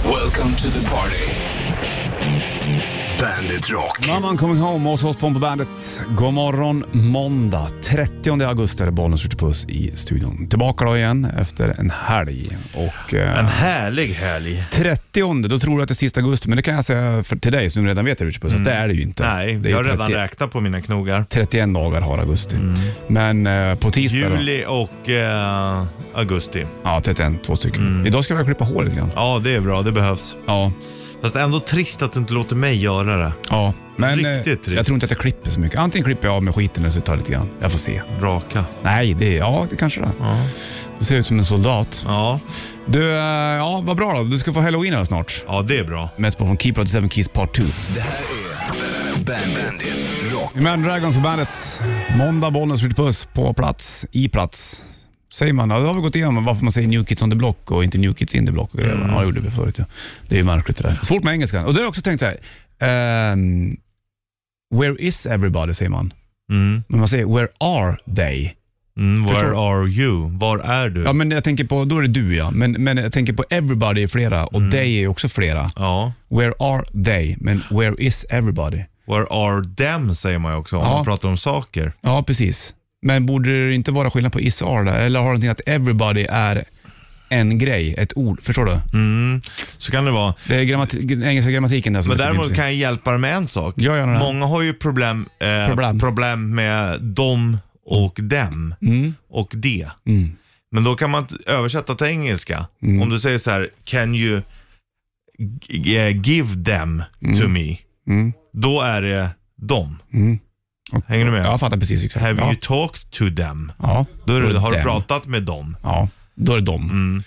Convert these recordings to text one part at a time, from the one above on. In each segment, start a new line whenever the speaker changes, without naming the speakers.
Welcome to the party. Bandit Rock.
Mamman coming home och oss på bandet. God morgon måndag 30 augusti är det Bollnäs Puss i studion. Tillbaka då igen efter en helg. Och, eh,
En härlig helg.
30 då tror du att det är sista augusti, men det kan jag säga för, till dig som redan vet Richard Puss, att det är det ju inte.
Mm. Nej,
det är
jag har
ju Mm.
redan
30
räknat på mina knogar.
31 dagar har augusti. Men eh, på tisdag då?
Juli och eh, augusti.
Ja, 31, två stycken.
Mm.
Idag ska vi klippa hår lite grann.
Ja, det är bra. Det behövs.
Ja,
Fast ändå trist att du inte låter mig göra det.
ja. Men eh,
Riktigt trist.
jag tror inte att jag klipper så mycket. Antingen klipper jag av med skiten eller så tar jag lite grann. Jag får se.
Raka.
Nej, det, ja, det kanske det är.
Ja.
Du ser ut som en soldat.
Ja,
Du, eh, ja vad bra då. Du ska få halloween här snart.
ja det är bra.
Mest på från Keep Out the Seven Keys Part 2.
Det här är Bandit Rock.
Imagine Dragons på bandet. Måndag, Bollnäs, Ritchie Puss på plats, i plats. Säger man, ja, då har vi gått igenom varför man säger New Kids on the Block och inte New Kids in the Block. Och grejer. Ja, det gjorde vi förut. Ja. Det är ju märkligt det där. Svårt med engelskan. Och då har jag också tänkt så här. ehm, where is everybody, säger man.
Mm.
Men man säger where are they?
Mm, where
Förstår.
are you? Var är du?
Ja,
Ja.
men jag tänker på, då är det du ja. Men, men jag tänker på everybody är flera och they är ju också flera. Where are they? Men where is everybody?
Where are them säger man ju också om
Ja.
man pratar om saker.
Ja, precis. Men borde det inte vara skillnad på is och are där? Eller har det någonting att everybody är en grej, ett ord? Förstår du?
Mm. Så kan det vara.
Det är grammati- engelska grammatiken där som
Men
är lite
däremot
knipsig.
kan jag hjälpa dig med en sak.
Ja, gärna det.
Många har ju problem, eh,
Problem.
problem. med dem och dem och det.
Mm.
Men då kan man t- översätta till engelska. Om du säger så här, can you g- eh, give them to me?
Mm.
Då är det dem.
Mm. Och-
Hänger du med?
Ja, jag fattar precis exakt.
Have
ja.
you talked to them?
ja.
Då är det,
Och
har du
dem.
pratat Mm. med dem?
Ja, då är det dem.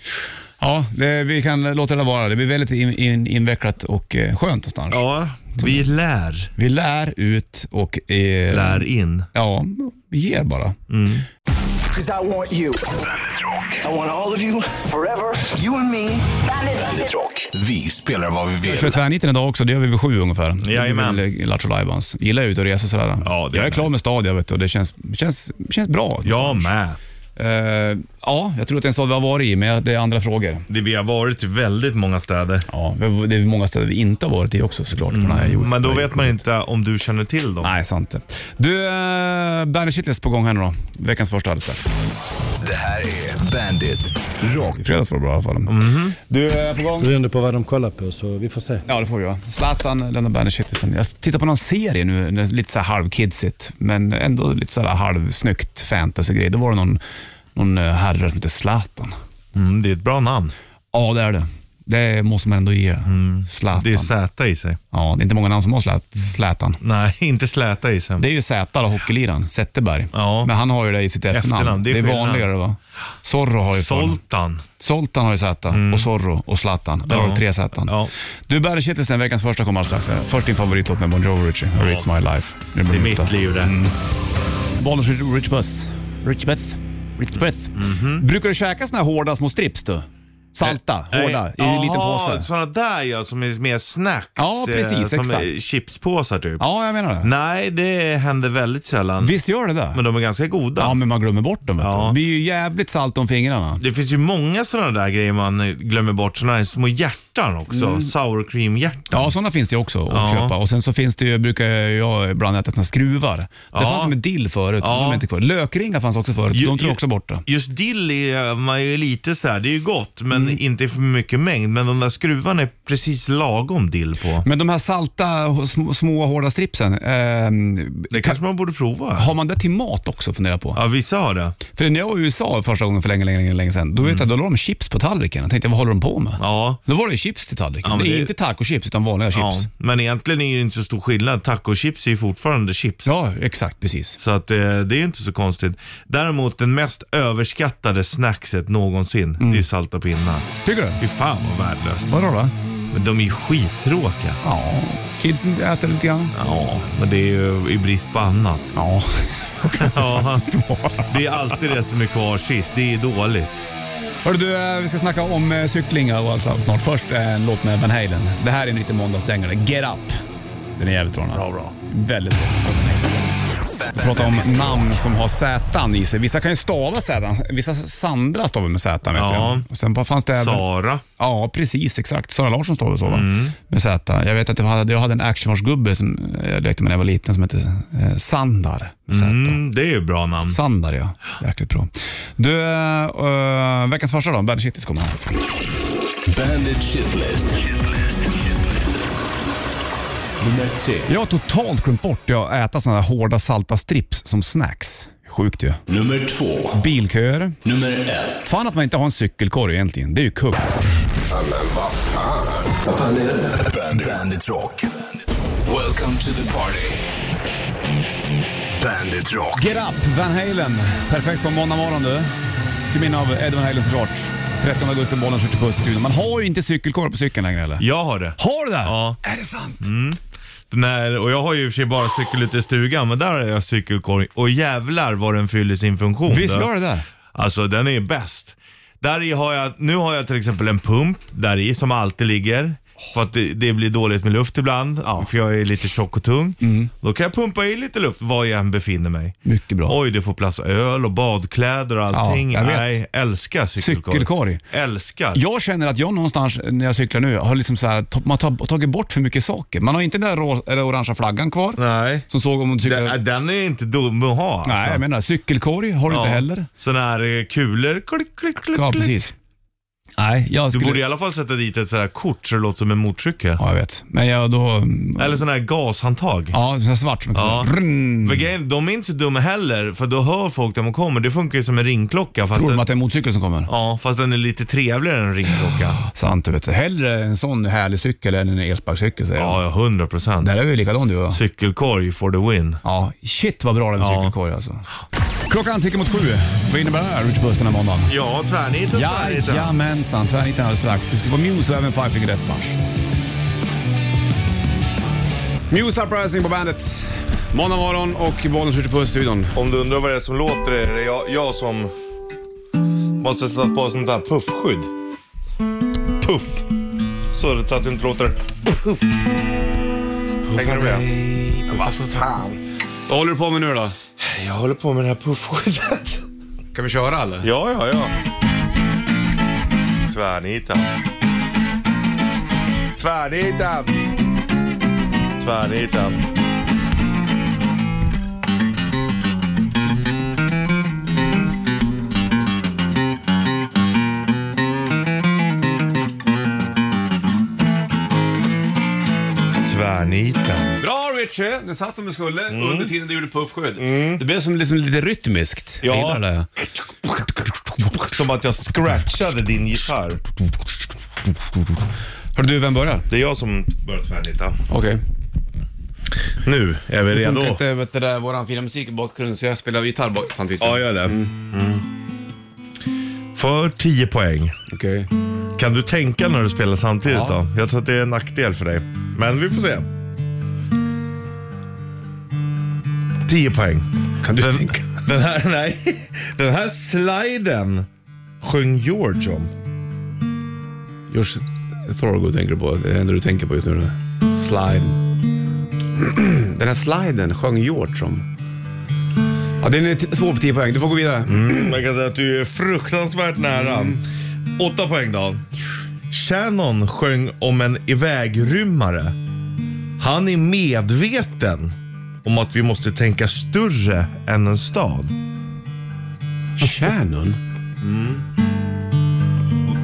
Ja, det, vi kan låta det vara. Det blir väldigt in, in, invecklat och eh, skönt någonstans.
Ja, vi lär,
Vi lär ut och... Eh,
lär in.
Ja, vi ger bara.
Because I want you. I want all of you forever. You and me.
Bandit Rock. Vi spelar vad vi
Jag kör
vill.
tvärniten idag också, det gör vi vid sju ungefär.
Jajamän.
Det blir väl Lattjo Lajbans. Gillar ju ut och resa sådär.
Ja, det är
jag är klar
nice.
med Stadia vet du, och det känns, känns, känns bra.
Jag med.
Eh, ja, jag tror att det är en stad vi har varit i, men det är andra frågor.
Det, vi har varit i väldigt många städer.
Ja, det är många städer vi inte har varit i också såklart. På den här jorden.
Mm, Men då vet man inte om du känner till dem.
Nej, sant det. Du, eh, Bandit Shitlist på gång här nu då. Veckans första alldeles strax.
Det här är Bandit Rock.
I fredags var det bra i alla fall.
Mhm.
Du, är på gång?
Beroende på vad de kollar på så vi får se.
Ja, det får vi göra. Zlatan lämnar Bandit Shitlisten. Jag tittar på någon serie nu, den är lite så här halvkidsigt, men ändå lite så här halvsnyggt fantasy-grej. Då var det någon, någon eh, herre som hette Zlatan.
Mm, det är ett bra namn.
Ja, det är det. Det måste man ändå ge Zlatan.
Mm. Det är Mm. Z i sig.
ja, det är inte många namn som har Zlat- Zlatan.
Nej, inte släta i sig.
Det är ju Z då, hockeyliran, Zetterberg.
Ja.
Men han har ju det i sitt efternamn.
Efternamn,
det
det
är,
är skillnad.
vanligare va? Zorro har ju förnamn.
Soltan.
Zoltan har ju Z och Zorro och Zlatan. Där har du tre Z.
Mm. Ja.
Du, Bandit Shitlisten, veckans första kommer alldeles strax. Först din favoritlåt med Bon Jovi, Richie. Or It's My Life. Nu blir
Det är
nytta.
mitt liv det.
Bonus Rich Puss. Rich Puss. Rich Puss.
Mhm.
Brukar du käka såna här hårda små strips du? Salta,
Nej.
hårda, i en liten
Jaha,
påse.
Sådana där ja, som är mer snacks.
Ja, precis,
eh, som
exakt.
är chipspåsar typ.
Ja, jag menar det.
Nej, det händer väldigt sällan.
Visst gör det det?
Men de är ganska goda.
Ja, men man glömmer bort dem vet du.
Ja.
Det blir ju jävligt salt om fingrarna.
Det finns ju många sådana där grejer man eh, glömmer bort. Sådana här små hjärtan också.
Mm.
Sour cream hjärtan.
Ja, sådana finns det ju också att
Ja.
köpa. Och sen så finns det ju, brukar jag ibland äta såna skruvar. Det fanns som en dill förut,
Ja.
de är inte kvar. Lökringar fanns också förut, de
Ju-
tror jag
ju-
också borta.
Just dill är man är ju lite så här, det är ju gott men
Mm.
inte i för mycket mängd. Men de där skruvarna är precis lagom dill på.
Men de här salta, små, små hårda stripsen, ehm,
Det kanske man borde prova.
har man det till mat också funderar jag på?
Ja, vissa har det.
För när jag var i USA första gången för länge, länge, länge, länge sedan, då, vet jag, då la de chips på tallriken. Jag tänkte, vad håller de på med?
Mm. Ja.
Då var det ju chips till tallriken.
Ja,
det
men
är
det-
inte tacochips, utan vanliga
ja.
chips.
Men egentligen är det inte så stor skillnad. Tacochips är ju fortfarande chips.
Ja, exakt, precis.
Så att eh, det är ju inte så konstigt. Däremot den mest överskattade snackset någonsin,
Mm.
det är salta pinnar.
Tycker du?
Fy fan vad värdelöst.
Vadå då?
Men de är ju skittråkiga.
Ja, kidsen äter lite grann.
Ja, men det är ju i brist på annat.
Ja, så kan det
Ja.
faktiskt vara.
Det är alltid det som är kvar sist. Det är dåligt.
Hörru du, eh, vi ska snacka om eh, cyklingar och allt sånt snart. Först eh, en låt med Van Halen. Det här är en riktig måndagsdängare. Get Up. Den är jävligt bra. Bra, bra. Väldigt bra. prata om namn som har Zätan i sig. Vissa kan ju stava Zätan. Vissa Sandra stavar med Zätan vet
Ja.
jag. Och Sen bara fanns det även...
Sara.
Ja, precis. Exakt. Sara Larsson stavar så va?
Mm.
Med Z. Jag vet att jag hade, jag hade en actionfarsgubbe som eh, jag lekte med när jag var liten som hette eh, Sandar. Med Z.
Mm, det är ju bra namn.
Sandar ja. Jäkligt bra. Du, eh, veckans första då. Bandit Shitlist kommer här.
Bandit Shitlist. Nummer tre.
Jag har totalt glömt bort att äta sådana här hårda salta strips som snacks. Sjukt ju.
Nummer två.
Bilköer.
Nummer ett.
Fan att man inte har en cykelkorg egentligen. Det är ju kung.
Bandit. Bandit Rock. Welcome to the party. Bandit Rock.
Get up, Van Halen. Perfekt på måndag morgon du. Till minne av Ed Van Halen såklart. 13 augusti, bollen skjuter puss i studion. Man har ju inte cykelkorg på cykeln längre eller?
Jag har det.
Har du det?
Ja. Mm.
Är det sant?
Den här, och jag har ju i och för sig bara cykel ute i stugan, men där har jag cykelkorg. Och jävlar vad den fyller sin funktion.
Visst
då.
gör det det?
Alltså den är bäst. Där i har jag, nu har jag till exempel en pump där i som alltid ligger. För att det, det blir dåligt med luft ibland, för jag är lite tjock och tung.
Mm.
Då kan jag pumpa i lite luft var jag än befinner mig.
Mycket bra.
Oj, det får plats öl och badkläder och allting.
Ja, jag vet.
Nej, älskar cykelkorg.
Cykelkorg.
Älskar.
Jag känner att jag någonstans när jag cyklar nu har liksom så här, ta- man har tagit bort för mycket saker. Man har inte den där rå, eller orangea flaggan kvar.
Nej.
Som såg om du cyklar...
Den, den är inte dum att ha alltså.
Nej, jag menar cykelkorg har du inte heller.
Sådana här eh, kulor. Klick, klick, klick,
Ja,
klick.
precis. Nej, jag
Du
skulle...
borde i alla fall sätta dit ett sådant här kort så det låter som en motorcykel.
Ja, jag vet. Men jag då...
Eller sådana här gashandtag.
Ja, mm. så här svart som
Ja.
ja. Rrrn.
För grejen, de är inte så dumma heller, för då hör folk när de kommer. Det funkar ju som en ringklocka. Fast
Tror de
den,
att det är en motorcykel som kommer?
ja, fast den är lite trevligare än en ringklocka.
Sant, vet du. Hellre en sån härlig cykel än en elsparkcykel säger jag.
Ja, ja, 100 procent.
Där är vi likadan du och jag.
Cykelkorg for the win.
Ja, shit vad bra den med
Ja.
cykelkorg alltså. Klockan tickar mot sju. Vad innebär det här, Rich Puss, den här måndagen?
Ja, tvärniten, tvärniten.
Jajamensan, tvärniten alldeles strax. Vi ska få Muse och även Five Finger Death Punch. Muse Uprising på bandet. Måndag morgon och bollen skjuter på studion.
Om du undrar vad det är som låter är det jag, jag som måste sätta på sånt där puffskydd. Puff. Så det- så att det inte låter puff. Hänger du med? Vad fan.
Vad håller du på med nu då?
Jag håller på med det här puffskyddet.
Kan vi köra eller?
Ja, ja, ja. Tvärnitan. Tvärnitan. Tvärnitan. Tvärnitan.
Bra Richie! Den satt som den skulle under tiden du gjorde puffskydd. Det blev som liksom lite rytmiskt.
Ja.
Jag gillar det.
Som att jag scratchade din gitarr.
Hör du, vem börjar?
Det är jag som börjar tvärnita.
Okej.
Nu är vi
Funkar
redo.
inte vet du, det där, våran fina musik i bakgrunden så jag spelar gitarr bak- samtidigt.
Ja, gör det.
Mm. För 10 poäng.
Okej.
Kan du tänka när du spelar samtidigt
Ja.
då? Jag tror att det är en nackdel för dig. Men vi får se.
10 poäng.
Kan du
Den,
tänka?
den, här, nej, den här sliden sjöng George om.
George Thorogood tänker du på. Det är det enda du tänker på just nu. eller? Slide. Den här sliden sjöng George om. Ja, den är t- svår på 10 poäng. Du får gå vidare.
Mm.
Man kan säga att du är fruktansvärt nära.
Mm.
Åtta poäng då. Shannon sjöng om en ivägrymmare. Han är medveten om att vi måste tänka större än en stad.
Shannon?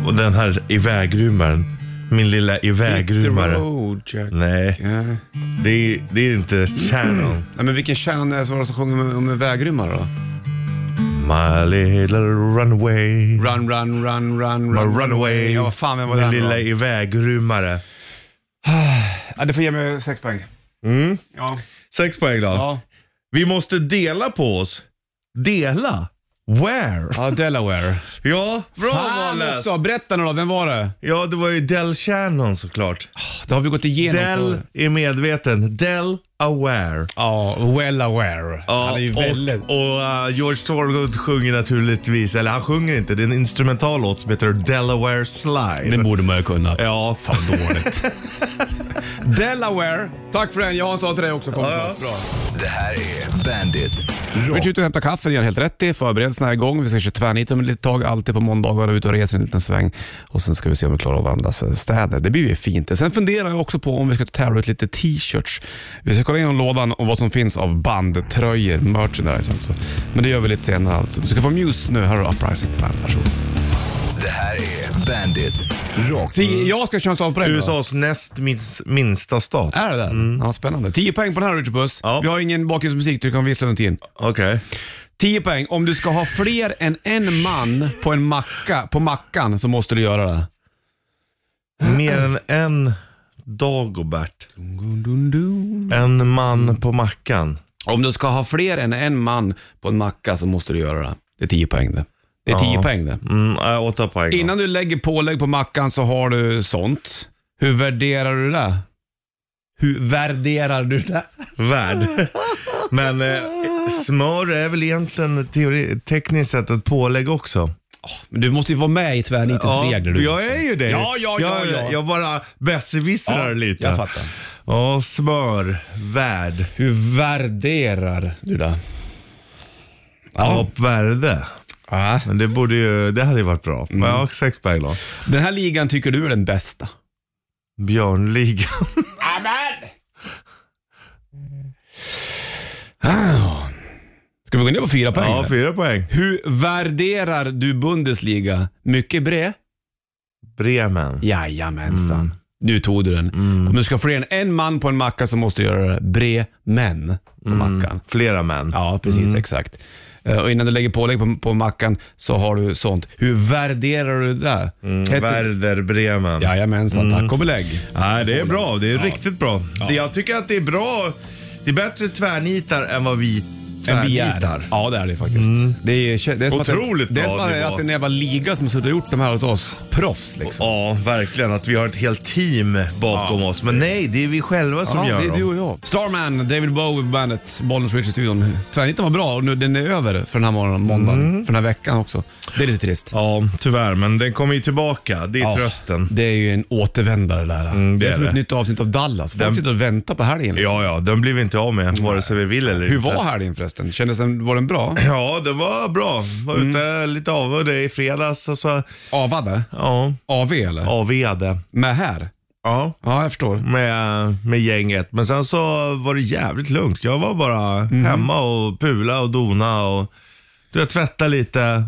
Och den här ivägrymmaren. Min lilla
Hit the
ivägrymmare.
road, Jack.
Nej,
Ja.
det är, det är inte Shannon.
Nej, men vilken Shannon är det som var som sjöng om, om en vägrymmare då?
My little runaway.
Run, run, run, run,
My
run.
runaway.
Ja, vad fan, vem var
Min
den
lilla
då?
ivägrymmare.
Ja, det får ge mig 6 poäng.
Mm.
Ja.
Sex poäng då.
Ja.
Vi måste dela på oss. Dela? Where?
ja, Delaware.
Ja, bra
Fan
Wallace!
också! Berätta nu då, vem var det?
Ja, det var ju Del Shannon såklart.
Det har vi gått igenom
Del
förr.
är medveten. Del aware.
Ja, well aware. Han är ju väldigt...
och, och uh, George Thorogood sjunger naturligtvis, eller han sjunger inte, det är en instrumental låt som heter Delaware Slide.
Den borde man ju kunnat.
Ja,
Fan dåligt. Delaware. Tack för den. Jag sa till dig också kompis.
Det här är Bandit
Vi
Rock.
är ute och hämtar kaffe, det är helt rätt i. Förberedelserna är igång. Vi ska köra tvärnit om ett litet tag, alltid på måndagar. Ut och reser en liten sväng. Och sen ska vi se om vi klarar av andras städer. Det blir ju fint. Sen funderar jag också på om vi ska tävla ut lite t-shirts. Vi ska kolla igenom lådan och vad som finns av bandtröjor, merchandise alltså. Men det gör vi lite senare alltså. Du ska få Muse nu. Här har du Uprising på bandet. Varsågod.
Det här är Bandit Rock.
Tio- Jag ska köra stavprov.
USAs näst minst, minsta stat.
Är det där? Ja, spännande. 10 poäng på den här Richard Puss.
Mm. Ja.
Vi har ingen bakgrundsmusik, du kan visa runt in.
Okej.
10 poäng. Om du ska ha fler än en man på en macka, på mackan så måste du göra det.
Mer än en Dagobert. En man på mackan.
Om du ska ha fler än en man på en macka så måste du göra det. Det är 10 poäng det. Det är 10 poäng det.
Mm, äh, åtta poäng.
Innan du lägger pålägg på mackan så har du sånt. Hur värderar du det? Hur värderar du det?
Värd. Men eh, smör är väl egentligen teori- tekniskt sett ett pålägg också.
Men du måste ju vara med i tvärnitets regler. Du.
jag är ju det.
Ja, ja, ja, ja.
Jag, jag bara besserwissrar lite.
Jag fattar.
Ja, smör, värd,
Hur värderar du det? Ja.
kap, värde.
ja.
Men det borde ju, det hade ju varit bra.
Mm.
Men jag har sex poäng då.
Den här ligan tycker du är den bästa.
Björnligan.
Ah. Ska vi gå ner på fyra poäng?
Ja,
eller?
fyra poäng.
Hur värderar du Bundesliga? Mycket bre?
Bremen.
Jajamensan. Nu tog du den. Om du ska ha fler än en man på en macka så måste du göra det. Bre män på mackan.
Flera män.
Ja, precis. Exakt. Eh, Och innan du lägger pålägg på, på mackan så har du sånt. Hur värderar du det? Mm,
Werder Bremen. Ja.
Jajamensan, tack och belägg.
Nej, det är bra. Det är riktigt bra. Det, jag tycker att det är bra. Det är bättre tvärnitar än vad vi
Än vi
tvärnitar.
är. Ja, det är det faktiskt. Det är, det är som att det-
Otroligt
Det är
bra
som att det är
nivå.
att det är en jävla liga som har suttit och gjort de här åt oss. Proffs liksom.
Ja, verkligen. Att vi har ett helt team bakom oss. Men nej, det är vi själva som gör
det är
dem.
du och jag. Starman, David Bowie på bandet, Bollnäs Rich i studion. Tvärniten var bra och nu, den är över för den här morgonen, måndagen, för den här veckan också. Det är lite trist.
Mm. Ja, tyvärr. Men den kommer ju tillbaka. Det är
Ja,
trösten.
Det är ju en återvändare där.
Mm, det
det är
är
som
det.
ett nytt avsnitt av Dallas. Folk
Den-
sitter och väntar på helgen. Liksom.
Ja, ja. Den blir vi inte av med, vare sig vi vill eller
Hur
inte.
var helgen förresten? Kändes den, var den bra?
Ja, det var bra. Var
Mm.
ute lite av det i fredags och så,
Avade?
ja,
AV eller?
avade.
Med här?
Ja.
Ja, jag förstår.
med, med gänget. Men sen så var det jävligt lugnt. Jag var bara hemma och pula och dona och du vet, tvätta lite.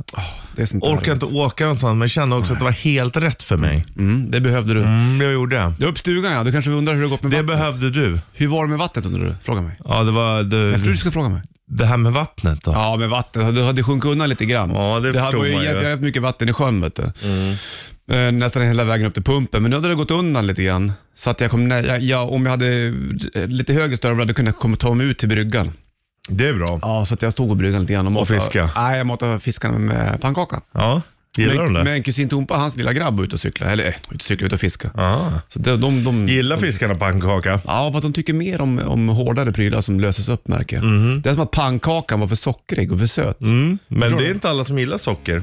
Det är sånt där.
Orkade inte åka någonstans men kände också att det var helt rätt för mig.
Mm, det behövde du.
Mm, jag gjorde det.
Du är upp stugan ja. Du kanske undrar hur det gått med
Det
vattnet?
behövde du.
Hur var det med vattnet undrar du? Fråga mig.
Ja, det var
Jag tror du
det,
ska fråga mig.
det här med vattnet då.
Ja, men vattnet. Det hade sjunkit undan lite grann.
Ja, det
här
förstår
var ju
man ju. Mm.
jävligt, jävligt mycket vatten i sjön vet du. Eh, Nästan hela vägen upp till pumpen, men nu hade det gått undan lite grann. Så att jag kom, nä- jag, jag, om jag hade eh, lite högre stövlar hade jag kunnat komma ta mig ut till bryggan.
Det är bra.
Ja, så att jag stod på bryggan lite grann och matade.
fiska?
Nej, jag matade fiskarna med pannkaka.
Ja, gillar
Men,
de det?
men kusin Tompa, hans lilla grabb, var ute och cykla Eller eh, ute och cykla, ute och fiska.
Ah.
Så de, de, de,
Gillar fiskarna pannkaka?
Ja, för att de tycker mer om, om hårdare prylar som löses upp märker jag. Det är som att pannkakan var för sockrig och för söt.
Mm. Men det är inte alla som gillar socker.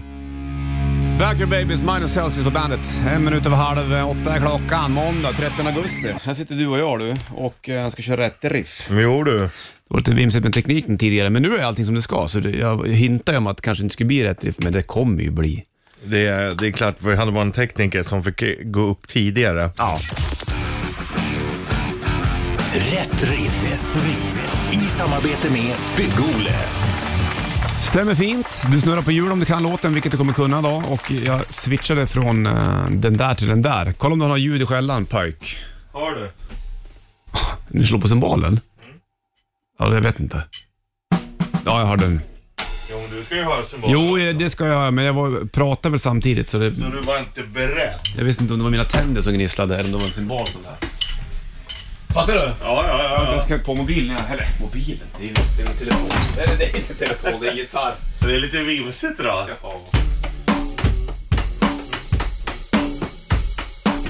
Backyard Babies, Minus Celsius på bandet. En minut över halv åtta är klockan, måndag 13 augusti. Här sitter du och jag du och eh, jag ska köra rätt riff.
Jo du.
Det var lite vimsigt med tekniken tidigare, men nu är allting som det ska. Så det, jag hintar ju om att det kanske inte skulle bli rätt riff, men det kommer ju bli.
Det är, det är klart, för hade man en tekniker som fick gå upp tidigare.
Ja.
Rätt riff. I samarbete med Bygg-Ole.
Stämmer fint. Du snurrar på hjul om du kan låten, vilket du kommer kunna idag. Och jag switchade från eh, den där till den där. Kolla om du har något ljud i skällan, pojk.
Har du?
Du slår på cymbalen? Ja, jag vet inte. Ja, jag har den.
Jo, du ska ju höra symbolen.
Jo, eh, det ska jag göra, men jag var, pratade väl samtidigt så det,
Så du var inte beredd?
jag visste inte om det var mina tänder som gnisslade eller om det var en cymbal som där. Fattar du?
Ja, ja, ja.
Jag ska på mobilen, jag- eller mobilen, det är ju det är min telefon. Eller det är inte telefon, det är gitarr.
ja. Det är lite vimsigt idag.
Ja.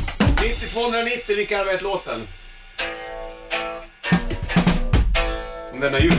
290, vilka vet låten? Om den har ljud.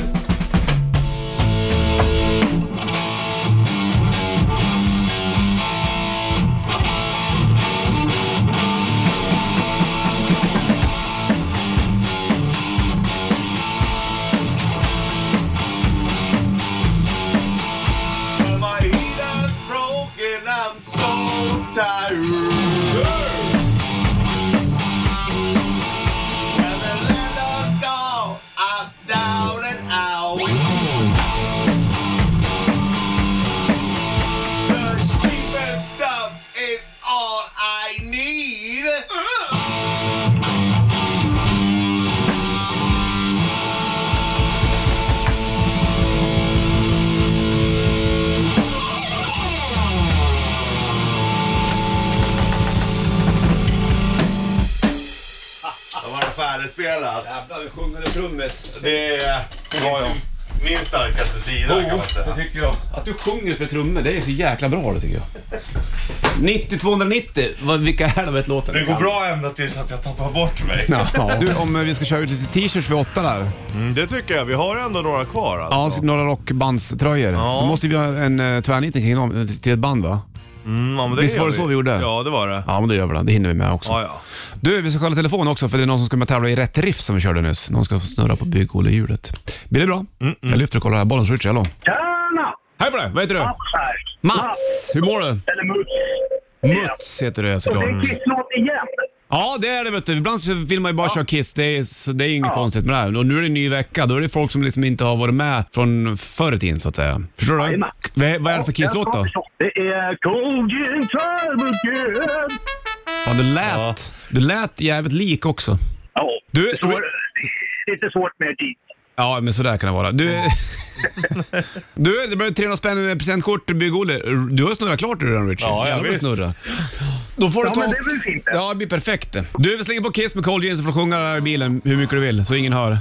färdigspelat.
Jävlar, du sjunger trummis.
Det Oh. är eh,
Ja, ja.
min starkaste sida kan man
det
säga.
tycker jag. Att du sjunger med trummor, det är så jäkla bra det tycker jag. 90-290, vad- vilka är de ett låten?
Det går bra ända tills att jag tappar bort mig.
Ja. Du, om eh, vi ska köra ut lite t-shirts vid åtta där.
Mm, det tycker jag. Vi har ändå några kvar
Ja,
alltså.
så några rockbandströjor.
Ja.
Då måste vi ha en uh, tvärnitning kring dem, eh, till ett band va?
Mm, ja, men
Visst
gör
var det så vi gjorde?
Ja, det var det.
Ja, men då gör vi det. Det hinner vi med också.
Ja, ja.
Du, vi ska kolla telefon också för det är någon som ska med och tävla i rätt riff som vi körde nyss. Någon ska få snurra på bygghjulhjulet. Blir det bra? Jag lyfter och kollar här. Bollens Richie, hallå.
Tjena!
Hej på dig! Vad heter du?
Mats här.
Mats! Hur mår du?
Eller Muts.
Muts heter du
Och det
såklart.
är Kiss-låt igen.
Ja, det är det vet du. Ibland så vill man ju bara köra Kiss. Det är, så det är inget konstigt med det här. Och nu är det en ny vecka. Då är det folk som liksom inte har varit med från förr i tiden så att säga. Förstår du?
Jajamän.
Vad, vad är det för Kiss-låt då?
Det är Cold Gin Time Again.
Fan, du lät, du lät jävligt lik också.
Ja,
Du-
det är svår- det är lite svårt med dit.
Ja, men sådär kan det vara. Du, du det blev 300 spänn i presentkort, Bygg-Olle. Du har snurrat klart du redan Richard.
Ja, ja,
Jävlar vad
visst.
Snurra. Då får du
Ja,
ta...
men det är väl fint det.
Ja, det blir perfekt det. Du, vi slänger på Kiss med Cold Jeans och får sjunga där i bilen hur mycket du vill, så ingen hör.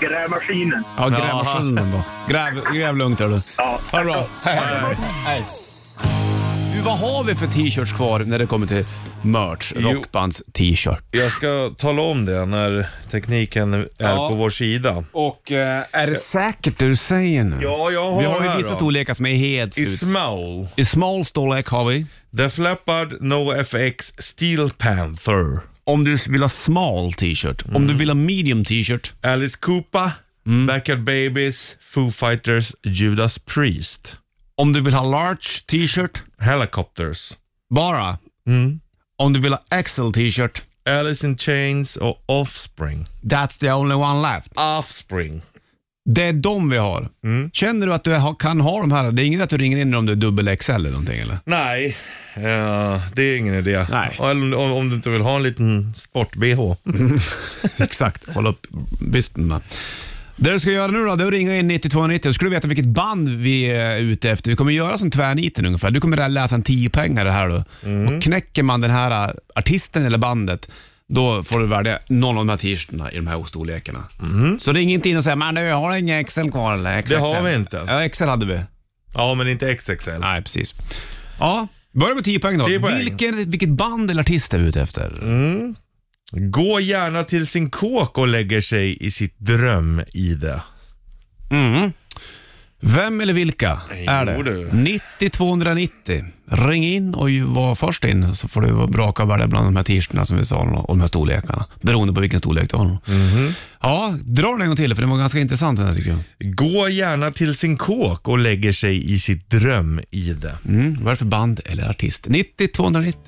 Grävmaskinen.
Ja, grävmaskinen då. Gräv, gräv lugnt hör du.
Ja.
Ha det bra. Hej, hej. Hej. Du, vad har vi för t-shirts kvar när det kommer till merch? Rockbands t-shirt.
Jag ska tala om det när tekniken är
Ja.
på vår sida.
Och eh, är det säkert det du säger nu?
Ja, jag har
Vi har
här
ju vissa
då.
storlekar som är helt
I
slut.
small.
I small storlek har vi.
Def Leppard, NoFX, Steel Panther.
Om du vill ha small t-shirt. Om du vill ha medium t-shirt.
Alice Cooper,
Mm.
Backyard Babies, Foo Fighters, Judas Priest.
Om du vill ha large t-shirt.
Helicopters,
Bara.
Mm.
Om du vill ha XL t-shirt.
Alice in Chains och Offspring.
That's the only one left.
Offspring.
Det är de vi har.
Mm.
Känner du att du ha- kan ha de här? Det är ingen att du ringer in om du är dubbel XL eller någonting eller?
Nej, eh, det är ingen idé.
Nej.
Eller om, om du inte vill ha en liten sport-bh.
Exakt. Håll upp bysten med. Det du ska göra nu då, det är att ringa in 9290. Då ska du veta vilket band vi är ute efter. Vi kommer göra som tvärniten ungefär. Du kommer läsa en 10 poängare här då.
Mm.
Och knäcker man den här äh, artisten eller bandet, då får du välja någon av de här t-shirtarna i de här storlekarna. Så ring inte in och säg men du, har du ingen XL kvar eller? XXL?
Mm. Det har vi inte.
Ja, XL hade vi.
Ja, men inte XXL.
Nej, precis. Ja, börja med 10 poäng då.
10 poäng.
Vilken, vilket band eller artist är vi ute efter?
Gå gärna till sin kåk och lägger sig i sitt dröm i det.
Mm. Vem eller vilka är
Jo,
det?
du.
90 290. Ring in och ju- var först in så får du vara braka och välja bland de här t-shirtarna som vi sa och de här storlekarna. Beroende på vilken storlek du har.
Mhm.
Ja, dra den en gång till för den var ganska intressant den här tycker jag.
Gå gärna till sin kåk och lägger sig i sitt dröm i det.
Mm. Vad är det för band eller artist? 90 290.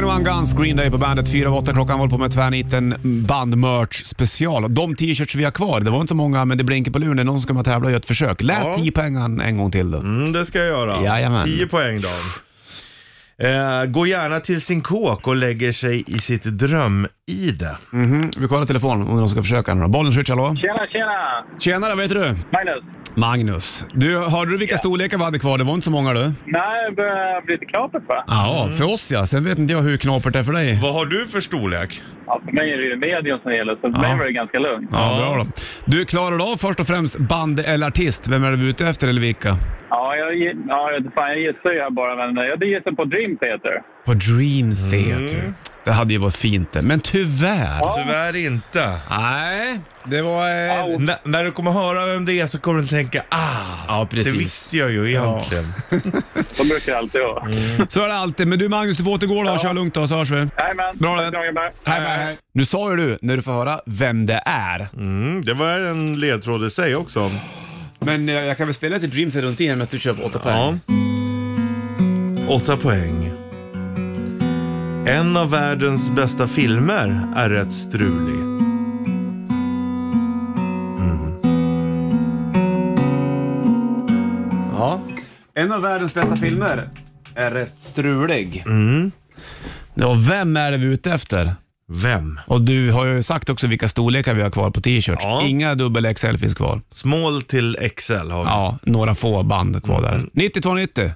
21 Guns, Green Day på bandet. 4 av 8 klockan håller på med tvärniten bandmerch special. De t-shirts vi har kvar, det var inte så många men det blinkar på luren. Det är någon som kommer att tävla och göra ett försök. Läs
Ja.
10 pengar en gång till då.
Mm, det ska jag göra.
Jajamän.
10 poäng då. Eh, gå gärna till sin kåk och lägger sig i sitt dröm i det.
Vi kollar telefonen om någon ska försöka. nu då. Bollen switch, hallå?
Tjena, tjena!
Tjenare, vad heter du?
Magnus.
Magnus. Du, hörde du vilka storlekar vi hade kvar? Det var inte så många du.
Nej, det börjar bli lite knapert va?
Ja, för oss ja. Sen vet inte jag hur knapert det är för dig.
Vad har du för storlek?
Ja, för mig är det ju medium som gäller, så för mig var det ganska lugnt.
Ja, bra då. Du, klarar du av först och främst band eller artist? Vem är du ute efter eller vilka?
Ja, jag, gi- ja, jag, vet fan, jag gissar ju här bara, men jag gissar på Dream Theater.
På Dream Theater.
Mm.
Det hade ju varit fint det, men tyvärr.
Tyvärr inte.
Nej, det var... eh,
N- när du kommer höra vem det är så kommer du tänka ah,
Ja,
det
precis.
visste jag ju egentligen.
De brukar det alltid
Mm.
vara.
Så är det alltid. Men du Magnus, du får återgå då och köra lugnt då så hörs vi.
Jajamän.
Bra det.
Tack, dagen, bye.
Hej, hej, hej. Nu sa ju du, när du får höra, vem det är.
Eh. Mm, det var en ledtråd i sig också.
Men eh, jag kan väl spela lite Dream Theater runt igen medan du kör på 8 poäng?
Ja. Åtta poäng. En av världens bästa filmer är rätt strulig. Mm.
Ja. En av världens bästa filmer är rätt strulig.
Mm.
Ja, vem är det vi är ute efter?
Vem?
Och du har ju sagt också vilka storlekar vi har kvar på t-shirts.
Ja.
Inga dubbel XL finns kvar.
Small till XL har vi.
Ja, några få band kvar där. 9290.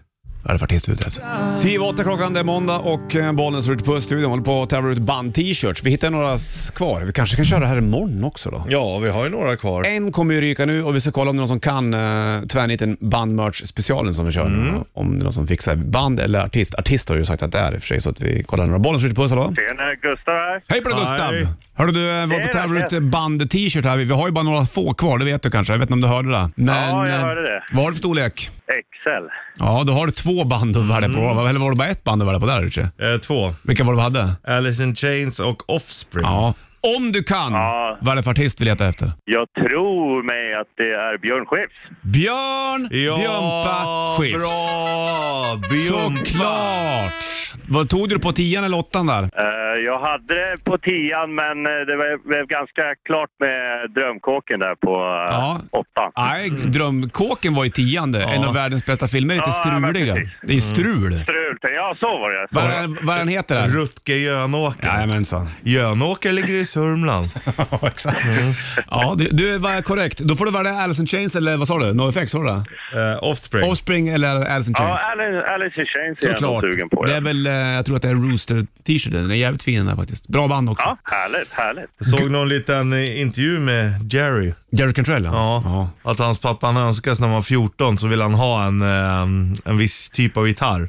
Välfärdsartist vi är ute efter. 10 och 8 klockan, det är måndag och eh, bollen slår ut på studion. Håller på att tävla ut band-t-shirts. Vi hittar några s- kvar. Vi kanske kan köra det här imorgon också då.
Ja, vi har ju några kvar.
En kommer ju ryka nu och vi ska kolla om det är någon som kan uh, tvärniten bandmerch-specialen som vi kör nu. Om det är någon som fixar band eller artist. Artist har ju sagt att det är i och för sig, så att vi kollar några. Bollen skjuter på oss då.
Tjena, Gustav här.
Hej på dig Gustav!
Hej.
Hörru du, vi håller på att
Tjena,
tävla ut
tjena.
eh, band-t-shirt här. Vi vi har ju bara några få kvar, det vet du kanske. Jag vet inte om du hörde det. Men,
Ja, jag
eh,
hörde det.
Vad har du för storlek?
Excel.
Ja, då har du två band att välja på.
Mm.
Eller var det bara ett band att välja på där Richie?
Eh, två.
Vilka var det du hade?
Alice in Chains och Offspring.
Ja. Om du kan,
Ja.
vad är det för artist vi letar efter?
Jag tror mig att det är Björn Skifs.
Björn
Ja,
Björnpa Skifs.
Bra! Björnpa.
Såklart! Vad tog du på tian eller åttan där?
Eh, Jag hade det på tian, men eh, det var- blev ganska klart med drömkåken där på eh,
Ja.
åttan.
Nej, Drömkåken var ju tian det. En av världens bästa filmer. Lite
Ja, men
struliga.
precis. Mm.
Det är strul.
Strul. Ja, så var det.
Vad är- Vad är han heter där?
Rutger Jönåker.
Jajamensan.
Jönåker ligger i Sörmland.
Ja, exakt.
Mm.
Ja, du, du var korrekt. Då får du välja Alice in Chains eller vad sa du? NoFX, var det det?
Eh, offspring.
Offspring eller Alice in
Ja,
Chains?
Alice, Alice in Chains är jag nog
Såklart.
sugen på.
Det
Ja.
är väl, eh, jag tror att det är Rooster-t-shirten. Den är jävligt fin den här faktiskt. Bra band också.
ja, härligt, härligt.
Såg någon liten eh, intervju med Jerry.
Jerry Cantrell
Ja. Att hans pappa han önskas när han var 14 så ville han ha en, eh, en viss typ av gitarr.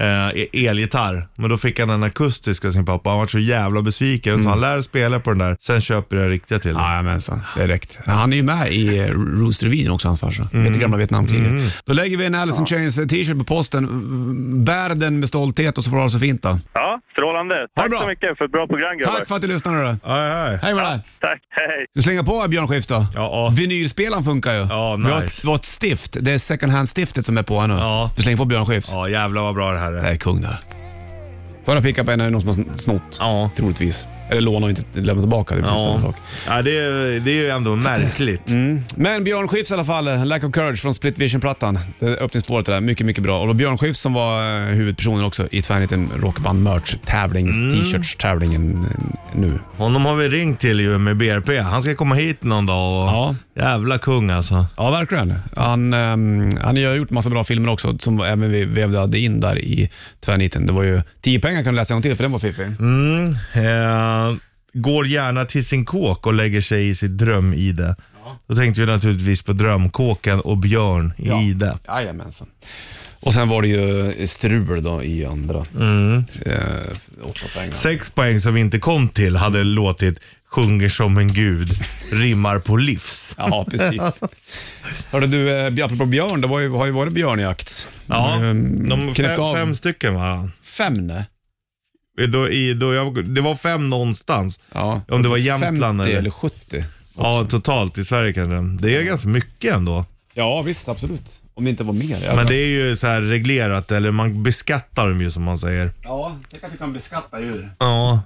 Eh, e- elgitarr. Men då fick han en akustisk av sin pappa. Han var så jävla besviken. Så han lär spela på den där. Sen köper jag den riktiga till dig.
Jajamensan, direkt. Han är ju med i eh, Rooster-videon också, hans farsa. Mm. Vet gamla Vietnamkriget. Då lägger vi en Alice in Chains eh, t-shirt på posten. Mm, Bär den med stolthet och så får du ha det så fint då.
Ja, strålande.
det
Tack
bra.
så mycket för ett bra program, grabbar.
Tack för att du lyssnade då.
Aj, aj.
Hej med dig.
Tack, hej.
Du slänger på Björn Skifs då.
Ja.
Vinylspelaren funkar ju.
Ja,
Vi har
nice.
ett, vi har ett stift. Det är second hand-stiftet som är på här nu.
Ja.
Du slänger på Björn Skifs.
Ja, jävlar vad bra det här
Det
är.
är kung det här. Förra pickupen är någon som har sn- snott.
Ja.
Troligtvis. Eller låna och inte lämna tillbaka. Det är precis samma sak.
ja det, är, det är ju ändå märkligt.
Men Björn Skifs i alla fall, eh, Lack of Courage från Split Vision-plattan. Det är öppningsspåret det där, mycket, mycket bra. Och då Björn Skifs som var eh, huvudpersonen också i tvärniten rockband merch tävlings t-shirts tävlingen nu.
Honom har vi ringt till ju med BRP. Han ska komma hit någon dag och...
Ja.
Jävla kung alltså.
Ja, verkligen. Han, ehm, han har ju gjort massa bra filmer också som även vi vävde in där i tvärniten. Det var ju Tio pengar kan du läsa en gång till för den var fiffig.
Mm, eh, går gärna till sin kåk och lägger sig i sitt drömide. Då tänkte vi naturligtvis på drömkåken och Björn i Ide.
Jajamensan. Och sen var det ju strul då i andra. Eh, åtta pengar.
Sex poäng som vi inte kom till hade låtit Sjunger som en gud, rimmar på livs.
Ja, precis. Hörde du, eh, apropå björn, det var ju, har ju varit björnjakt.
Ja,
Ehm,
Mm. de
knäppt
fem,
av-
fem stycken va?
Fem, ne?
Då, i, då jag, det var fem någonstans.
Ja.
Om det var Jämtland
50
eller-
eller 70.
Ja, totalt i Sverige kanske. Det är ganska mycket ändå.
Ja, visst, absolut. Om det inte var mer.
Men det är ju så här reglerat, eller man beskattar dem ju som man säger.
Ja, tänk att du kan beskatta djur.
Ja,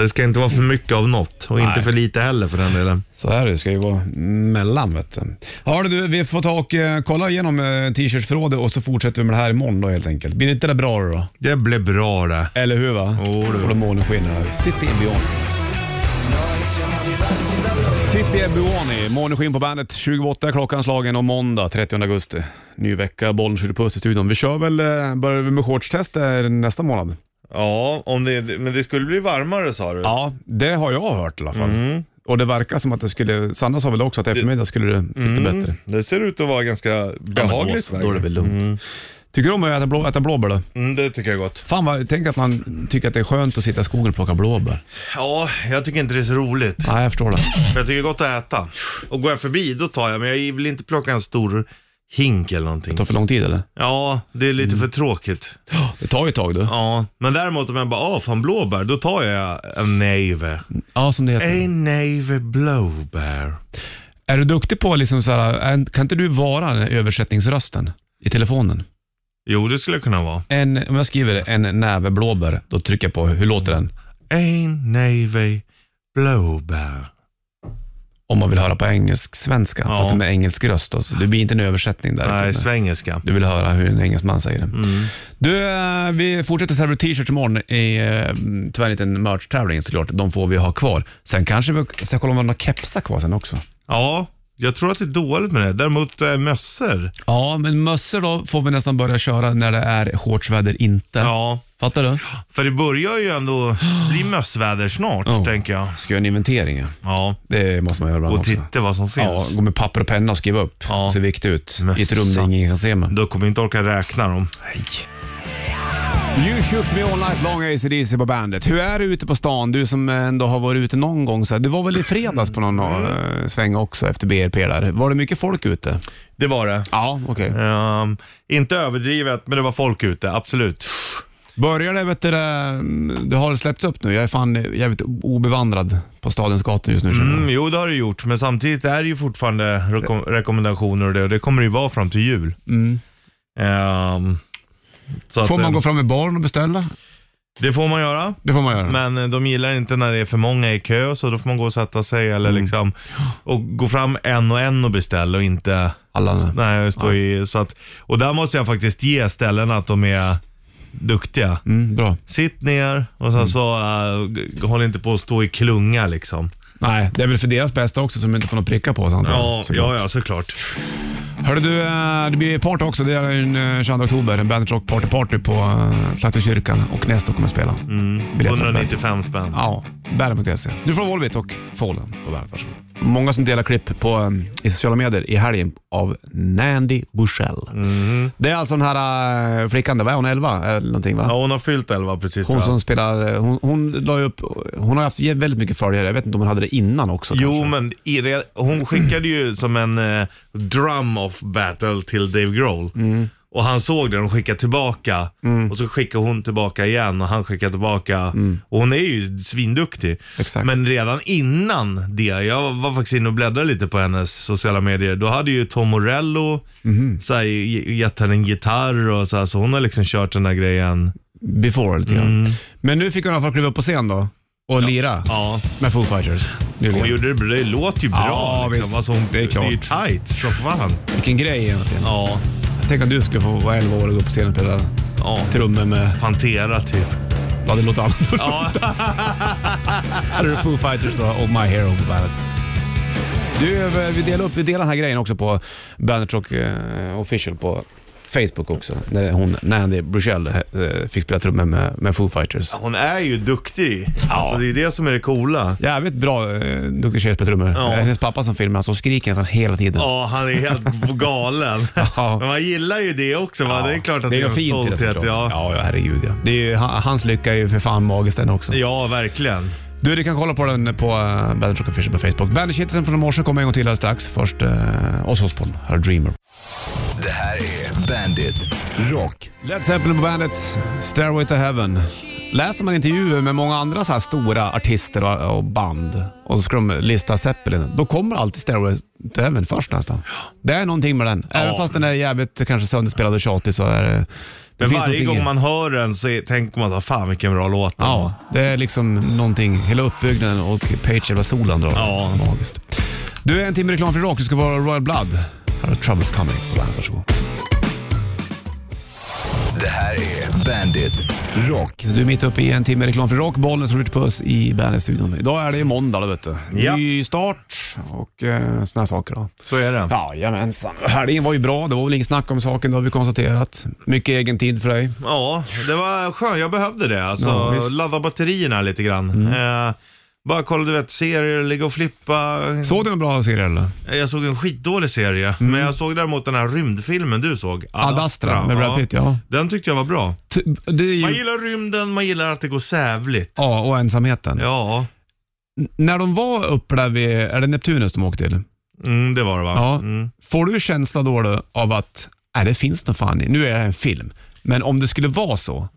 det ska inte vara för mycket av något och inte för lite heller för den delen.
Så här är det, ska ju vara mellan vet du. Ja, du, vi får ta och eh, kolla igenom eh, t-shirtsförrådet och så fortsätter vi med det här imorgon då helt enkelt. Blir inte det bra då?
Det blev bra det.
Eller hur va?
Jo,
Då
du.
får de månen skiner här. City Ebion. City Ebioni, måneskinn på bandet. 28 klockan slagen och måndag 30 augusti. Ny vecka, bollen skjuter puss i studion. Vi kör väl, eh, börjar vi med shortstest eh, nästa månad?
Ja, om det, men det skulle bli varmare sa du?
Ja, det har jag hört i alla fall. Och det verkar som att det skulle, Sanna sa väl också att eftermiddag skulle det bli lite bättre.
Det ser ut att vara ganska
Ja, men då
behagligt.
så, Då är det väl lugnt. Tycker du om att äta, blå, äta blåbär då?
Mm, det tycker jag är gott.
Fan vad, tänk att man tycker att det är skönt att sitta i skogen och plocka blåbär.
Ja, jag tycker inte det är så roligt.
Nej, jag förstår det.
Men jag tycker det är gott att äta. Och går jag förbi då tar jag, men jag vill inte plocka en stor hink eller någonting.
Det tar för lång tid eller?
Ja, det är lite för tråkigt.
Det tar ju ett tag du.
Ja, men däremot om jag bara, ah fan blåbär, då tar jag en neve.
Ja, som det heter.
En neve blåbär.
Är du duktig på liksom så här, en- kan inte du vara den här översättningsrösten i telefonen?
Jo, det skulle jag kunna vara.
En, om jag skriver en näve blåbär, då trycker jag på hur låter den?
Ein navy blåbär.
Om man vill höra på engelsk-svenska,
Ja.
fast med engelsk röst. Då, så det blir inte en översättning där.
Nej, Mm.
utan-
svengelska.
Du vill höra hur en engelsman säger det. Du, eh, vi fortsätter tävla ut t-shirts imorgon i eh, tvärniten merch-tävlingen såklart. De får vi ha kvar. Sen kanske vi ska kolla om vi har några kepsar kvar sen också.
Ja, Jag tror att det är dåligt med det. Däremot äh, mössor.
Ja, men mössor då får vi nästan börja köra när det är shortsväder inte.
Ja.
Fattar du?
För det börjar ju ändå bli mössväder snart,
Ja.
tänker jag.
Ska göra en inventering. ja.
Ja.
Det måste man göra ibland
Och
också.
titta vad som
Ja,
finns.
gå med papper och penna och skriva upp.
Ja.
Det ser viktigt ut. I ett
Mössa.
rum där ingen kan se mig.
Då kommer jag inte orka räkna dem.
You shook me all night long ACDC på bandet. Hur är det ute på stan? Du som ändå har varit ute någon gång. Så här, du var väl i fredags på någon eh, sväng också efter BRP där. Var det mycket folk ute?
Det var det.
Ja, okej.
Ehm, inte överdrivet, men det var folk ute. Absolut.
Börjar det, vet du, det, det har släppts upp nu. Jag är fan jävligt obevandrad på stadens gator just nu känner jag.
Mm, jo, det har det gjort, men samtidigt är det ju fortfarande rekom- rekommendationer och det, och det kommer det ju vara fram till jul. Ehm, så
Mm. Får
att,
man
eh,
gå fram i baren och beställa?
Det får man göra,
Det får man göra.
men eh, de gillar inte när det är för många i kö, så då får man gå och sätta sig eller
Mm.
liksom, och gå fram en och en och beställa och inte
Alla,
Nej, jag står i, så att, och där måste jag faktiskt ge ställena att de är duktiga.
mm, bra.
Sitt ner och sen
Mm.
så eh, g- g- håll inte på att stå i klunga liksom.
Nej, det är väl för deras bästa också som inte får någon pricka på oss antagligen.
Ja,
såklart.
ja, ja, såklart.
Hörru du, eh, det blir party också. Det är den eh, 22 oktober. En Bandit Rock Party Party på eh, Slakthuskyrkan och Nestor kommer att spela.
Mm.
Biljetter på Bandit.
195 spänn.
Ja, bandet.se. Nu E. får Volvit och Fallen på bandet. Varsågod. Många som delar klipp på, eh, i sociala medier i helgen av Nandy Bushell. Det är alltså den här eh, flickan, där, vad är hon, 11 eller någonting va?
Mm. Ja, hon har fyllt 11 precis.
Hon
tror jag.
som spelar, eh, hon, hon la ju upp, hon har haft väldigt mycket följare. Jag vet inte om hon hade det innan också
Jo,
kanske.
men i, re- hon skickade ju som en eh, drum-off battle till Dave Grohl.
Mm.
Och han såg den och skickade tillbaka. Och så skickade hon tillbaka igen och han skickade tillbaka. Och hon är ju svinduktig.
Mm. Exakt.
Men redan innan det, jag var faktiskt inne och bläddrade lite på hennes sociala medier. Då hade ju Tom Morello
Mhm.
så här, ge- gett henne en gitarr och så, här, så hon har liksom kört den här grejen.
Before lite grann. Men nu fick hon i alla fall kliva upp på scen då och lira
Mm. Ja.
med Foo Fighters.
Hon
Nyligen.
gjorde det, bra. det låter ju bra
Ja,
liksom.
visst.
Alltså, hon,
Det är klart.
Det är ju tight som fan.
Vilken grej egentligen.
Ja.
Tänk om du skulle få vara 11 år och gå upp på scenen och spela
Ja.
trummor med...
Pantera typ.
Ja, det låter annorlunda.
Ja.
Här är det Foo Fighters då och My Hero på bandet. Du, eh, vi delar upp vi delar den här grejen också på Bandet Rock eh, Official på Facebook också. När hon, Nandy Bruchell, eh, fick spela trummor med, med Foo Fighters.
Hon är ju duktig. Alltså det är det som är det coola.
Jävligt bra, eh, duktig tjej på trummor.
Ja.
Eh, Hennes pappa som filmar, så skriker nästan hela tiden.
Ja, han är helt galen.
Ja.
Men man gillar ju det också. Va? Det är klart att det är,
ju
en
fint i det
stolthet.
såklart.
ja.
ja, ja, herregud ja. Det är ju, ha- hans lycka är ju för fan magisk den också.
ja, verkligen.
Du, du kan kolla på den på uh, Bandit Rock Official på Facebook. Bandage-hitsen från i morse kommer en gång till alldeles strax. Först uh, oss hos Paul, här är Dreamer.
Det här är Bandit Rock.
Led Zeppelin på bandet, Stairway to Heaven. Läser man intervjuer med många andra så här stora artister och, och band och så ska de lista Zeppelin, då kommer alltid Stairway to Heaven först nästan. Det är någonting med den. Även
Ja.
fast den är jävligt kanske sönderspelad och tjatig så är det... det
Men
finns
varje
någonting i
gång
den.
man hör den så är, tänker man att fan vilken bra låt den var."
Ja, det är liksom någonting. Hela uppbyggnaden och Page jävla solen drar.
Ja.
Magiskt. Du, är en timme reklam för rock. Du ska vara Royal Blood. Här har Troubles Coming på bandet. Varsågod.
Det här är Bandit Rock.
Du är mitt uppe i en timme reklam för rock. Bollen slår ut på oss i Bandet-studion. Idag är det ju måndag, då, vet du.
Ja.
Ny start och eh, såna här saker. Då.
Så är det.
Jajamensan. Helgen var ju bra. Det var väl inget snack om saken, det har vi konstaterat. Mycket egen tid för dig.
Ja, det var skönt. Jag behövde det. Alltså,
Ja, visst. Mm.
ladda batterierna lite grann. Eh, bara kolla, du vet, serier, ligga och flippa. Eh,
Såg du någon bra serie eller?
Jag såg en skitdålig serie, men jag såg däremot den här rymdfilmen du såg.
Mm. Ad Astra med Brad Pitt, ja.
Den tyckte jag var bra.
T- det är
Man
ju...
gillar rymden, man gillar att det går sävligt.
Ja, och ensamheten.
Ja,
När de var uppe där vid, är det Neptunus de åkte till?
mm, det var det va?
Ja.
Mm.
Får du känslan då, då av att, nej det finns nog fan i- nu är det här en film, men om det skulle vara så,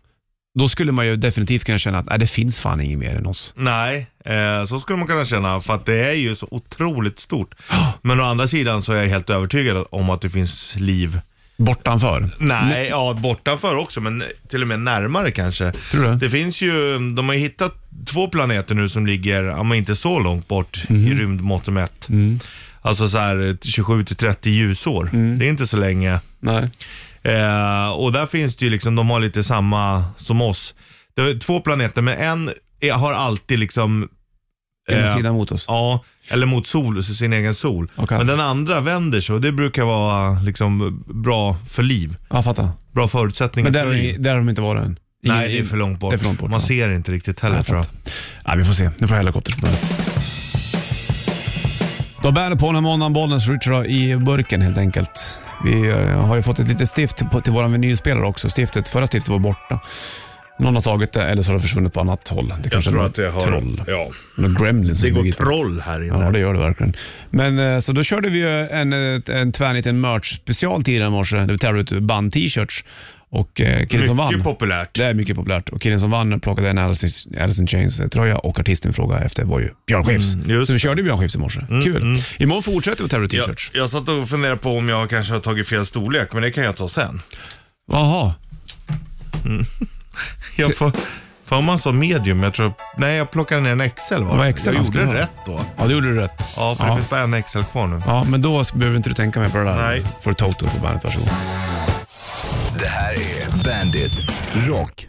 då skulle man ju definitivt kunna känna att nej, det finns fan inget mer än oss.
Nej, eh, så skulle man kunna känna för att det är ju så otroligt stort. Men å andra sidan så är jag helt övertygad om att det finns liv.
Bortanför.
Nej, ja bortanför också, men till och med närmare kanske.
Tror du?
Det finns ju, de har ju hittat två planeter nu som ligger, ja, men inte så långt bort i
Mhm.
rymdmått mätt.
Mm.
Alltså så här 27-30 ljusår. Det är inte så länge.
Nej.
Eh, och där finns det ju liksom, de har lite samma som oss. Det är två planeter, men en är, har alltid liksom
Ena
Eh,
sidan mot oss.
Ja, eller mot sol, så sin egen sol.
Okej.
Men den andra vänder sig och det brukar vara liksom bra för liv.
Ja, fattar.
Bra förutsättningar
Men där har,
för
ni-
liv.
där har de inte varit än. Ingen-
Nej, det är för långt bort.
Det är för långt bort
Man
ja.
ser inte riktigt heller
Nej,
tror jag.
fattar. Nej, vi får se. Nu får jag helikopter på bandet. Då bär det på den här måndagen, Bollnäs Richard har i burken helt enkelt. Vi eh, har ju fått ett litet stift på, till vår vinylspelare också. Stiftet, förra stiftet var borta. Någon har tagit det eller så har det försvunnit på annat håll. Det kanske är någon troll.
Ja.
Någon gremlin som
Det går
ligger-
troll här inne.
Ja, det gör det verkligen. Men eh, så då körde vi ju en, eh, en tvärniten merch-special tidigare i morse där vi tävlade ut band-t-shirts. Och eh, killen som vann...
Mycket populärt.
Det är mycket populärt. Och killen som vann plockade en Alice, Alice in Chains-tröja och artisten frågade efter var ju Björn Skifs.
Mm, just Mm,
så vi körde Björn Skifs i morse. Kul. Imorgon fortsätter vi att tävla
Jag,
t-shirts.
jag satt och funderade på om jag kanske har tagit fel storlek, men det kan jag ta sen.
Jaha.
Jag får, får man som medium? Jag tror, nej, jag plockade ner en XL. Var
Vad
det?
XL
jag
man skulle
gjorde
ha.
rätt då.
Ja, det gjorde du rätt.
Ja, för det finns bara en XL kvar nu.
Ja, men då behöver inte du tänka mer på det där.
Nej.
Får du Toto på bandet, varsågod.
Det här är Bandit Rock.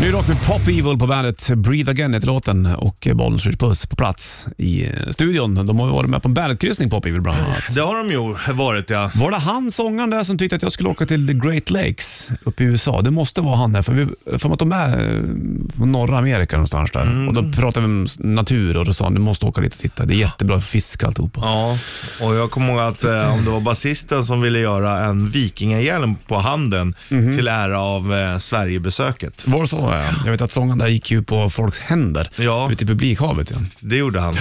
Ny rock med Pop Evil på bandet. Breathe Again heter låten och Bollen Street Puss på plats i eh, studion. De har ju varit med på en bandetkryssning, Pop Evil bland annat.
Det har de ju varit ja.
Var det han, sångaren där, som tyckte att jag skulle åka till The Great Lakes uppe i USA? Det måste vara han där, för vi för att de är eh, från norra Amerika någonstans där.
Mm.
Och då pratade vi om s- natur och då sa han, du måste åka dit och titta. Det är jättebra för fisk och alltihopa.
Ja, och jag kommer ihåg att eh, om det var basisten som ville göra en vikingahjälm på handen
Mhm.
till ära av eh, Sverigebesöket.
Var det så? Ja. Jag vet att sångaren där gick ju på folks händer
Ja.
ute i publikhavet. Ja.
Det gjorde han.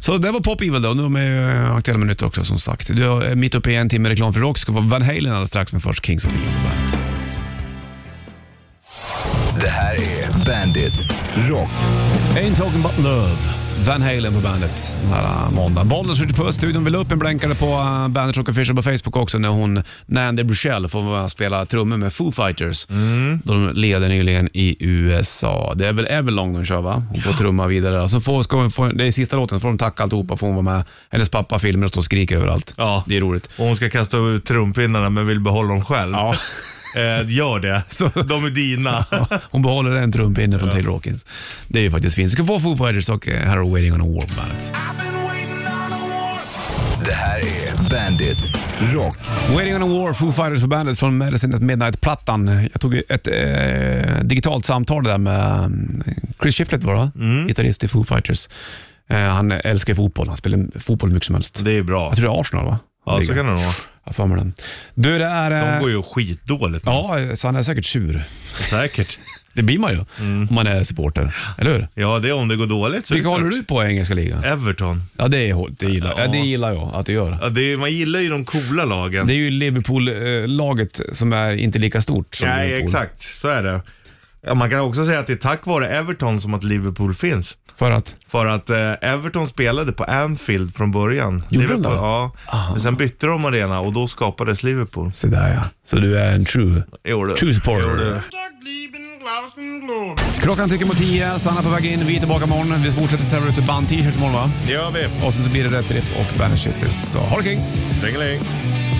Så det var Pop Evil då. Nu är de ju eh, Aktuella Minuter också som sagt. Du är mitt uppe i en timme reklam för rock. Ska vara Van Halen alldeles strax, men först Kings of Leon på bandet.
Det här är Bandit Rock.
Ain't talking about love. Van Halen på bandet den här äh, måndagen. Bollen skjuter på studion. Vi la upp en blänkare på eh, Bandet Rock Official på Facebook också när hon, Nandy Bruchel, får vara med och spela trummor med Foo Fighters. De leder nyligen i USA. Det är väl Everlong de kör va? Hon får trumma vidare. Och Så får, ska hon få, det är sista låten, så får de tacka alltihopa, får hon vara med. Hennes pappa filmer och står och skriker överallt.
Ja.
Det är roligt.
Och hon ska kasta ut trumpinnarna men vill behålla dem själv.
Ja.
Eh, gör det.
Så-
De är dina.
Ja, Hon behåller en trumpinne från Taylor Hawkins. Det är ju faktiskt fint. Ska få Foo Fighters och eh, Harrow Waiting on a War på bandet.
Det här är Bandit Rock.
Waiting on a War, Foo Fighters på bandet från Medicine at Midnight-plattan. Jag tog ett eh, digitalt samtal där med mm, Chris Shiflett, var det,
Mm.
gitarrist i Foo Fighters. Eh, han älskar fotboll. Han spelar fotboll hur mycket som helst.
Det är bra.
Jag tror det är Arsenal, va?
Ja, så kan det nog vara.
Jag har för mig den. Du, det är...
De
Eh,
går ju skitdåligt nu.
ja, så han är säkert sur.
Säkert.
Det blir man ju om man är supporter, eller hur?
Ja, Mm. det är om det går dåligt. så är
Vilka
det
håller
klart.
du på i engelska ligan?
Everton.
Ja, det, är, det, gillar, ja. det gillar jag att du gör.
Ja, det är, man gillar ju de coola lagen.
Det är ju Liverpool-laget som är inte lika stort som
Nej,
Liverpool.
exakt. Så är det. Ja, man kan också säga att det är tack vare Everton som att Liverpool finns.
För att?
För att eh, Everton spelade på Anfield från början.
Gjorde de
Liverpool,
det? Ah.
Ja. Men sen bytte de arena och då skapades Liverpool.
Så där ja. Så du är en true,
Jo, du.
true supporter.
Jo, du.
Klockan tickar mot tio, Sanna på väg in. Vi är tillbaka imorgon. Vi fortsätter tävla ut band-t-shirts imorgon va?
Det gör vi.
Och sen så blir det rätt riff och bandet shitlist. Så ha det kring!
Strängeling.